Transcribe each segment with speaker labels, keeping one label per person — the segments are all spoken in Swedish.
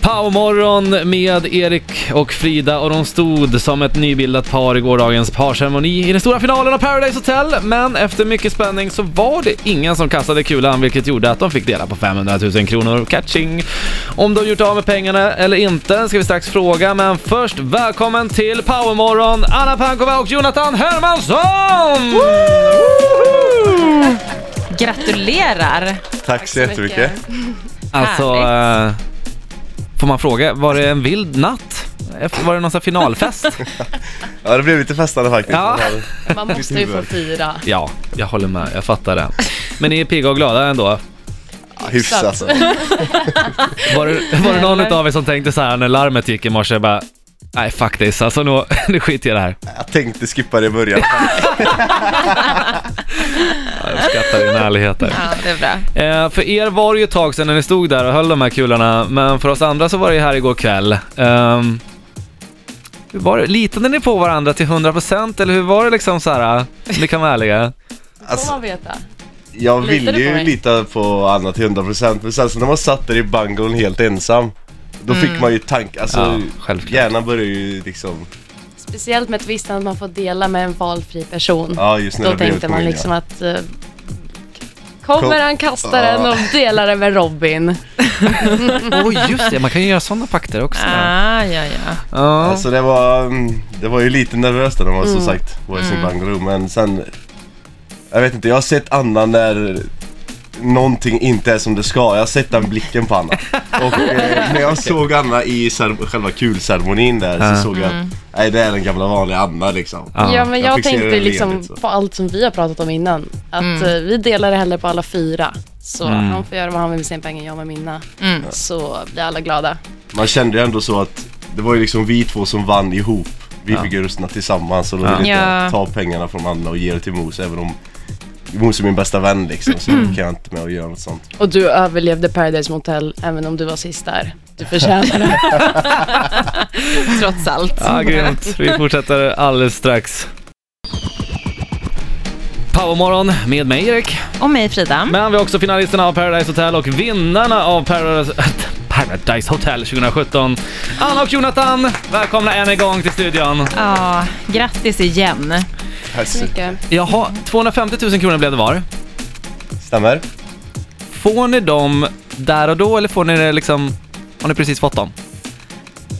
Speaker 1: Powermorgon med Erik och Frida och de stod som ett nybildat par i gårdagens parceremoni i den stora finalen av Paradise Hotel. Men efter mycket spänning så var det ingen som kastade kulan vilket gjorde att de fick dela på 500 000 kronor. Catching! Om de gjort av med pengarna eller inte ska vi strax fråga men först välkommen till Powermorgon Anna Pankova och Jonathan Hermansson!
Speaker 2: Gratulerar!
Speaker 3: Tack så jättemycket.
Speaker 1: Alltså, eh, får man fråga, var det en vild natt? Efter- Var det någon sån här finalfest?
Speaker 3: Ja, det blev lite festande faktiskt.
Speaker 1: Ja.
Speaker 4: Man måste ju få fira.
Speaker 1: Ja, jag håller med. Jag fattar det. Men ni är pigga och glada ändå.
Speaker 3: Ja, Hyfsat. Alltså.
Speaker 1: Var det, var det någon utav er som tänkte så här när larmet gick i morse bara Nej fuck this, alltså nu, nu skiter jag i det här.
Speaker 3: Jag tänkte skippa det i början.
Speaker 1: Ja, Jag skrattar i ärlighet här.
Speaker 2: Ja, det är bra.
Speaker 1: eh, För er var det ju ett tag sedan när ni stod där och höll de här kulorna, men för oss andra så var det ju här igår kväll. Ehm, hur var det? Litade ni på varandra till 100% eller hur var det liksom så här? eh, Ni kan vara ärliga.
Speaker 4: Får
Speaker 3: Alltså,
Speaker 4: man veta.
Speaker 3: jag
Speaker 4: Litar
Speaker 3: ville
Speaker 4: du på
Speaker 3: ju
Speaker 4: mig?
Speaker 3: lita på Anna till 100% men sen så när man satt där i bangon helt ensam då fick
Speaker 4: Mm.
Speaker 3: man ju tank, alltså
Speaker 1: Ja, självklart.
Speaker 3: hjärnan börjar ju liksom,
Speaker 4: Speciellt med twistan att man får dela med en valfri person.
Speaker 3: ja just när
Speaker 4: Då
Speaker 3: det blev
Speaker 4: tänkte
Speaker 3: ett
Speaker 4: man
Speaker 3: mål,
Speaker 4: liksom
Speaker 3: ja.
Speaker 4: att eh, Kommer
Speaker 3: Kom-
Speaker 4: han kasta den
Speaker 3: Ja.
Speaker 4: och dela den med Robin?
Speaker 1: Åh just det, man kan ju göra sådana pakter också.
Speaker 2: Ah, ja, ja.
Speaker 1: Ja. Mm.
Speaker 3: Alltså det var, mm, det var ju lite nervöst när man som sagt var i sin bungalow men sen Jag vet inte, jag har sett Anna när Någonting inte är som det ska, jag har sett den blicken på Anna Och eh, när jag såg Anna i cer- själva kulceremonin där så
Speaker 1: Ja. Mm.
Speaker 3: såg jag att Nej det är den gamla vanliga Anna liksom
Speaker 1: Ja.
Speaker 4: Ja, men
Speaker 3: Jag
Speaker 4: jag,
Speaker 3: fick se det
Speaker 4: tänkte
Speaker 3: leendet,
Speaker 4: liksom
Speaker 3: så.
Speaker 4: på allt som vi har pratat om innan. Att
Speaker 2: Mm.
Speaker 4: eh, vi delar det hellre på alla fyra. Så
Speaker 3: Mm.
Speaker 4: han får göra vad han vill med sin pengar, jag med mina.
Speaker 2: Mm.
Speaker 4: Så blir alla glada.
Speaker 3: Man kände ju ändå så att Det var ju liksom vi två som vann ihop Vi fick ju rösterna tillsammans och då ville inte
Speaker 2: Ja.
Speaker 3: jag ta pengarna från Anna och ge det till Mos även om Mos är min bästa vän liksom så
Speaker 1: Mm.
Speaker 3: kan jag inte med att göra något sånt
Speaker 4: Och du överlevde Paradise Motel även om du var sist där. Du förtjänar det.
Speaker 2: Trots allt.
Speaker 1: Ja, grymt. Vi fortsätter alldeles strax. Powermorgon med mig Erik.
Speaker 2: Och mig Frida.
Speaker 1: Men vi har också finalisterna av Paradise Hotel och vinnarna av Paradise, Paradise Hotel 2017. Anna och Jonathan, välkomna än en gång till studion.
Speaker 2: Ja, grattis igen.
Speaker 4: Mycket.
Speaker 1: Jaha, 250 000 kronor blev det var.
Speaker 3: Stämmer?
Speaker 1: Får ni dem där och då eller får ni det liksom, har ni precis fått dem?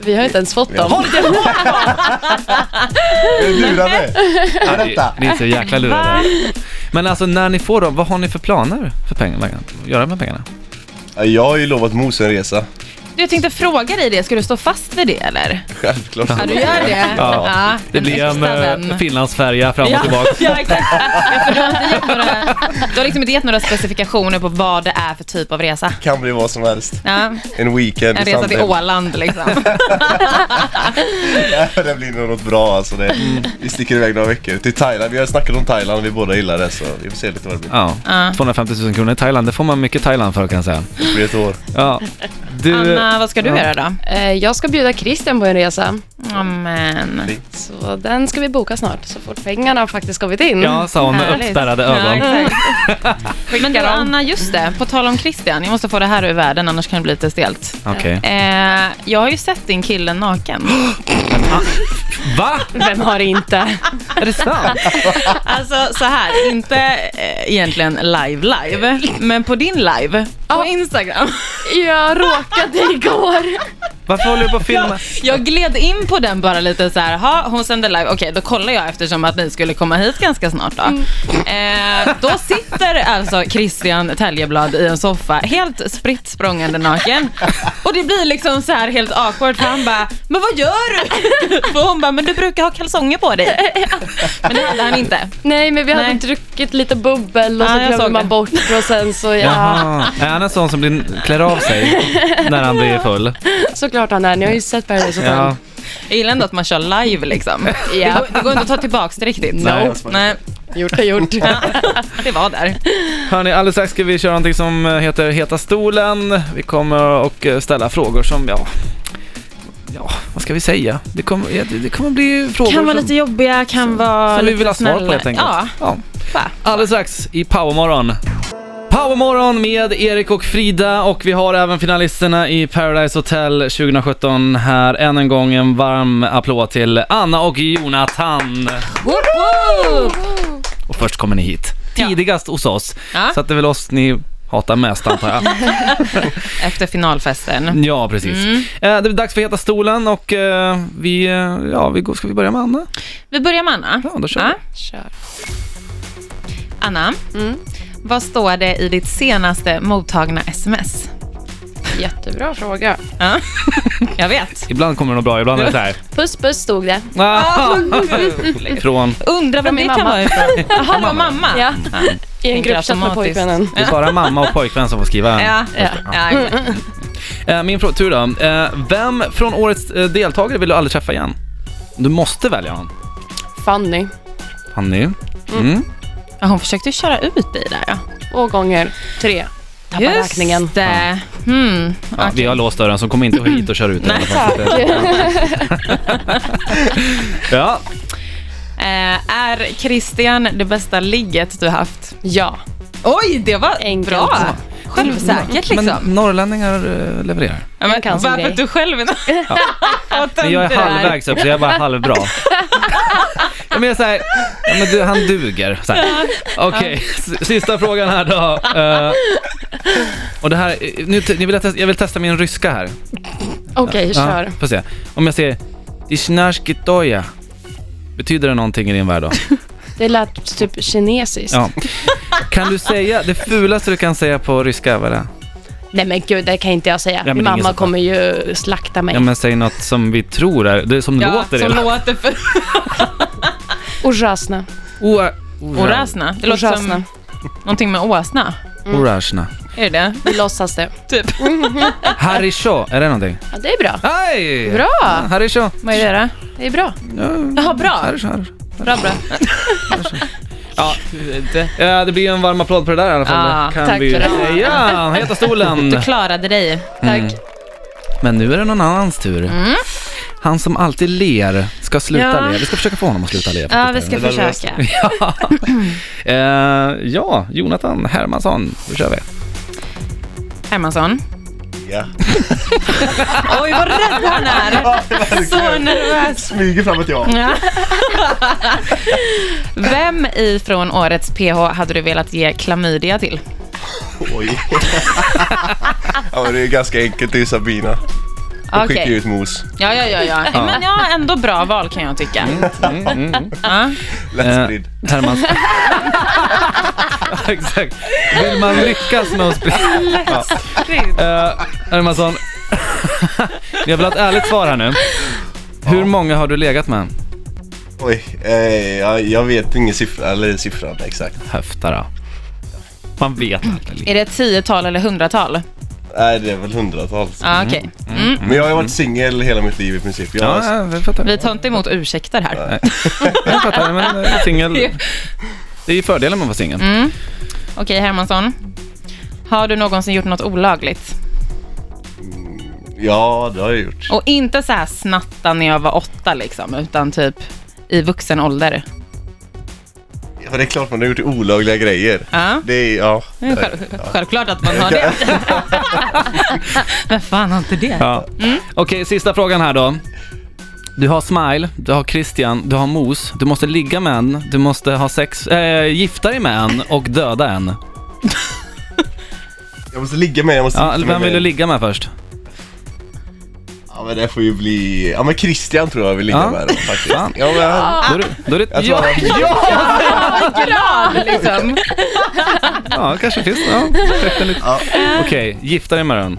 Speaker 4: Vi har inte ens fått dem.
Speaker 3: Lura mig! Vänta!
Speaker 1: Ni är så jäkla lurade. Men alltså när ni får dem, vad har ni för planer för pengarna? att Göra med pengarna?
Speaker 3: Jag har ju lovat Mos en resa.
Speaker 2: Du, jag tänkte fråga dig det. Ska du stå fast vid det eller?
Speaker 3: Självklart.
Speaker 2: Ja, du gör det?
Speaker 1: Ja. Det blir en eh, Finlandsfärja fram och tillbaka.
Speaker 2: Ja, exakt. Ja, för du, har inte gett några, du har liksom inte gett några specifikationer på vad det är för typ av resa.
Speaker 3: Kan bli vad som helst.
Speaker 2: Ja,
Speaker 3: En weekend
Speaker 2: en
Speaker 3: i
Speaker 2: resa till
Speaker 3: Sandhem.
Speaker 2: Åland liksom.
Speaker 3: det blir nog något bra alltså. Det,
Speaker 2: Mm.
Speaker 3: vi sticker iväg några veckor. Till Thailand. Vi har snackat om Thailand vi båda gillar det så vi får se lite vad det blir.
Speaker 1: Ja,
Speaker 2: Ja.
Speaker 1: 250 000 kronor i Thailand, det får man mycket Thailand för kan jag säga.
Speaker 3: Det blir ett år.
Speaker 1: Ja. Du,
Speaker 2: Anna, vad ska du göra då?
Speaker 4: Eh, Jag ska bjuda Christian på en resa.
Speaker 2: Amen.
Speaker 4: Så den ska vi boka snart, så fort pengarna har faktiskt kommit in.
Speaker 1: ja, sa hon med
Speaker 2: Härligt.
Speaker 1: uppspärrade ögon.
Speaker 2: Ja, exakt. Men du
Speaker 4: dem.
Speaker 2: Anna, just det, på tal om Christian, jag måste få det här ur världen annars kan det bli lite stelt.
Speaker 1: Okej.
Speaker 2: Eh, jag har ju sett din kille naken.
Speaker 1: Va?
Speaker 4: Vem har det inte?
Speaker 1: Är det sant?
Speaker 2: Alltså så här, inte eh, egentligen live live, men på din live på Instagram.
Speaker 4: Jag råkade igår.
Speaker 1: Varför håller du på att filma?
Speaker 2: Jag gled in på den bara lite så här, ha, hon sände live, okej då kollar jag eftersom att ni skulle komma hit ganska snart då. Eh, då sitter alltså Christian Täljeblad i en soffa, helt spritt språngande naken. Och det blir liksom så här helt awkward för han bara, men vad gör du? Och hon bara, men du brukar ha kalsonger på dig. Men det hade han inte.
Speaker 4: Nej, men vi hade
Speaker 2: Nej.
Speaker 4: druckit lite bubbel och
Speaker 2: Ja,
Speaker 4: så
Speaker 2: jag
Speaker 4: glömde
Speaker 2: såg
Speaker 4: man
Speaker 2: det.
Speaker 4: bort och sen så, ja.
Speaker 1: Jaha, är han en sån som blir, klär av sig när han blir full?
Speaker 4: Såklart han är, ni har ju sett Paradise Hotel.
Speaker 1: Ja.
Speaker 2: Jag gillar ändå att man kör live liksom. Det,
Speaker 4: Ja.
Speaker 2: går, det går inte att ta tillbaka det riktigt.
Speaker 1: Nej.
Speaker 2: Nej,
Speaker 4: Gjort är gjort.
Speaker 2: det var där.
Speaker 1: Hörni, alldeles strax ska vi köra någonting som heter Heta stolen. Vi kommer att ställa frågor som, ja, ja, vad ska vi säga? Det kommer, det kommer bli frågor
Speaker 2: Kan vara
Speaker 1: som,
Speaker 2: lite jobbiga, kan vara
Speaker 1: som vi
Speaker 2: lite
Speaker 1: vill ha svar på
Speaker 2: snälla.
Speaker 1: helt enkelt.
Speaker 2: Ja,
Speaker 1: Ja.
Speaker 2: va.
Speaker 1: Alldeles strax i Powermorgon. Powermorgon med Erik och Frida och vi har även finalisterna i Paradise Hotel 2017 här. Än en gång en varm applåd till Anna och Jonathan.
Speaker 2: Woop, woop.
Speaker 1: Och först kommer ni hit.
Speaker 2: Ja.
Speaker 1: Tidigast hos oss.
Speaker 2: Ja.
Speaker 1: Så att det är väl oss ni hatar mest antar jag.
Speaker 2: Efter finalfesten.
Speaker 1: Ja, precis.
Speaker 2: Mm.
Speaker 1: Eh, det är dags för Heta stolen och eh, vi, eh, ja, vi går, ska vi börja med Anna?
Speaker 2: Vi börjar med Anna.
Speaker 1: Ja, då kör vi.
Speaker 4: Kör.
Speaker 2: Anna,
Speaker 4: Mm.
Speaker 2: vad står det i ditt senaste mottagna sms?
Speaker 4: Jättebra fråga.
Speaker 2: Ja, jag vet.
Speaker 1: Ibland kommer det något bra, ibland är det så här.
Speaker 4: Puss puss stod det.
Speaker 1: Ah, från,
Speaker 2: Undrar vad
Speaker 4: Från min
Speaker 2: det kan
Speaker 4: mamma.
Speaker 2: vara ifrån. Jaha, var mamma?
Speaker 4: Ja. I en
Speaker 2: Tänker
Speaker 4: gruppchatt med
Speaker 2: automatiskt.
Speaker 4: pojkvännen.
Speaker 1: det är bara mamma och pojkvän som får skriva.
Speaker 2: Ja, ja. exakt.
Speaker 1: Eh, min frå- tur då. Eh, vem från årets eh, deltagare vill du aldrig träffa igen? Du måste välja någon.
Speaker 4: Fanny.
Speaker 1: Fanny. Mm.
Speaker 2: Ja, hon försökte ju köra ut dig där. Ja.
Speaker 4: Två gånger tre. Tappar räkningen.
Speaker 2: det. Mm.
Speaker 1: Ja, Vi har låst dörren så kom inte hit och kör ut den. ja,
Speaker 2: Eh, är Christian det bästa ligget du haft?
Speaker 4: Ja.
Speaker 2: Oj, det var
Speaker 4: Enkelt.
Speaker 2: bra! Självsäkert liksom.
Speaker 1: men norrlänningar eh, levererar.
Speaker 2: ja,
Speaker 4: jag kan som
Speaker 2: varför
Speaker 4: dig.
Speaker 2: du själv är
Speaker 1: Men jag är halvvägs upp så jag är bara halvbra. Ja, men jag säger, ja, men du, han duger. Så här. Okej, s- sista frågan här då. Eh, och det här, eh, nu, t- jag, vill testa, jag vill testa min ryska här.
Speaker 4: Okej, kör.
Speaker 1: Ja, får se. Om jag säger Dishnashkitoja, betyder det någonting i din värld då?
Speaker 4: Det lät typ kinesiskt.
Speaker 1: Ja. Kan du säga, det fulaste du kan säga på ryska, vad är det?
Speaker 4: Nej men gud, det kan inte jag säga.
Speaker 1: men det är ingen
Speaker 4: Mamma
Speaker 1: som
Speaker 4: kommer ju slakta mig.
Speaker 1: Ja men säg något som vi tror är, det är som
Speaker 2: Ja,
Speaker 1: låter
Speaker 2: som
Speaker 1: redan.
Speaker 2: låter för...
Speaker 4: Ojasna.
Speaker 1: Oa-
Speaker 2: Orasna. Det låter
Speaker 4: Ojasna.
Speaker 2: som någonting med åsna.
Speaker 4: Mm.
Speaker 1: Orashna.
Speaker 2: Är det
Speaker 4: Vi låtsas det.
Speaker 2: det? Typ.
Speaker 1: Harisho, är det någonting?
Speaker 4: Ja, det är bra.
Speaker 1: Hej!
Speaker 4: Bra!
Speaker 1: Harisho.
Speaker 2: Vad är det då?
Speaker 4: Det är bra.
Speaker 2: Jaha, bra.
Speaker 1: Harisho, harisho.
Speaker 2: Bra, bra.
Speaker 1: Ja, det, det blir ju en varm applåd på det där i alla fall.
Speaker 2: Ja,
Speaker 1: Det kan
Speaker 4: tack
Speaker 1: vi ju
Speaker 4: för det.
Speaker 1: säga. Heta stolen.
Speaker 2: Du klarade
Speaker 1: Mm.
Speaker 2: dig.
Speaker 4: Tack.
Speaker 1: Men nu är det någon annans tur.
Speaker 4: Mm.
Speaker 1: Han som alltid ler ska sluta
Speaker 2: Ja.
Speaker 1: le. Vi ska försöka få honom att sluta le.
Speaker 2: Ja,
Speaker 1: faktiskt.
Speaker 2: vi ska
Speaker 3: Det där var-
Speaker 2: försöka.
Speaker 1: Ja. eh, ja, Jonathan Hermansson, då kör vi.
Speaker 2: Hermansson.
Speaker 3: Ja.
Speaker 2: Oj, vad rädd han är. Så nervös.
Speaker 3: Smyger fram ett ja.
Speaker 2: Ja. Vem ifrån årets PH hade du velat ge klamydia till?
Speaker 3: Oj. ja, men det är ganska enkelt. Det är Sabina. Hon skickar ju ut mos.
Speaker 2: Ja, ja, ja, ja. Men ja, ändå bra val kan jag tycka.
Speaker 1: Mm, mm, mm.
Speaker 2: Ja.
Speaker 3: Lättspridd.
Speaker 1: Eh, Hermansson. Ja, Exakt. Vill man lyckas med att sprida... Eh, Hermansson, jag vill ha ett ärligt svar här nu. Hur många har du legat med?
Speaker 3: Oj. Eh, jag, jag vet ingen siffra, eller siffran exakt.
Speaker 1: Höfta då. Man vet aldrig.
Speaker 2: Är det ett tiotal eller hundratal?
Speaker 3: Nej, det är väl hundratals.
Speaker 2: Ja, okej. Mm.
Speaker 3: Men jag har ju varit singel hela mitt liv i princip. Jag,
Speaker 1: Ja, ja, vi fattar.
Speaker 2: Vi tar inte emot ursäkter här.
Speaker 1: Jag fattar, men eh, singel... Det är ju fördelen med att vara singel.
Speaker 2: Okej, Hermansson. Har du någonsin gjort något olagligt?
Speaker 3: ja, det har jag gjort.
Speaker 2: Och inte så här snatta när jag var åtta liksom, utan typ i vuxen ålder.
Speaker 3: Ja, det är klart man har gjort olagliga grejer.
Speaker 2: Ja.
Speaker 3: Det är, ja.
Speaker 2: Själv, självklart att man har det. Vem fan har inte det?
Speaker 1: Ja. Okej, sista frågan här då. Du har Smile, du har Christian, du har Mos, du måste ligga med en, du måste ha sex, äh, gifta dig med en och döda en.
Speaker 3: Jag måste ligga med, jag måste
Speaker 1: Ja,
Speaker 3: ligga
Speaker 1: vem
Speaker 3: med.
Speaker 1: vill du ligga med först?
Speaker 3: Ja men det får ju bli, ja men Christian tror jag vill ligga
Speaker 1: Ja.
Speaker 3: med då, faktiskt.
Speaker 1: Fan.
Speaker 3: Ja, men, han-
Speaker 1: Då är det, då är det
Speaker 3: jag
Speaker 1: ett
Speaker 3: tror
Speaker 1: ja,
Speaker 3: han- ja!
Speaker 2: Glad liksom.
Speaker 1: ja, kanske finns ja, perfekt enligt- Okej, gifta dig med den.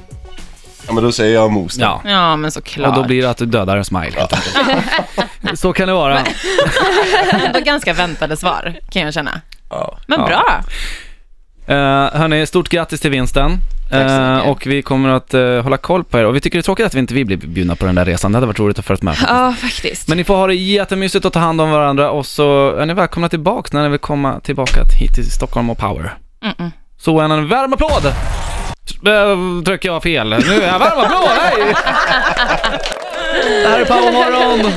Speaker 3: ja men då säger jag mos då.
Speaker 1: Ja.
Speaker 2: Ja, men såklart.
Speaker 1: Och då blir det att du dödar en Smile helt enkelt. Så kan det vara.
Speaker 2: Ändå ganska väntade svar, kan jag känna.
Speaker 3: Ja.
Speaker 2: Men
Speaker 1: Ja.
Speaker 2: bra.
Speaker 1: Uh, hörni, stort grattis till vinsten.
Speaker 4: Tack så
Speaker 1: Eh,
Speaker 4: mycket.
Speaker 1: och vi kommer att eh, hålla koll på er och vi tycker det är tråkigt att vi inte vi blir bjudna på den där resan. Det hade varit roligt att följa med.
Speaker 2: Ja, faktiskt.
Speaker 1: Men ni får ha det jättemysigt och ta hand om varandra och så är ni välkomna tillbaka när ni vill komma tillbaka hit till Stockholm och Power.
Speaker 2: Mm-mm.
Speaker 1: Så en, en varm applåd! Äh, trycker jag fel. Nu är jag varm applåd, hej! Det här är Powermorgon!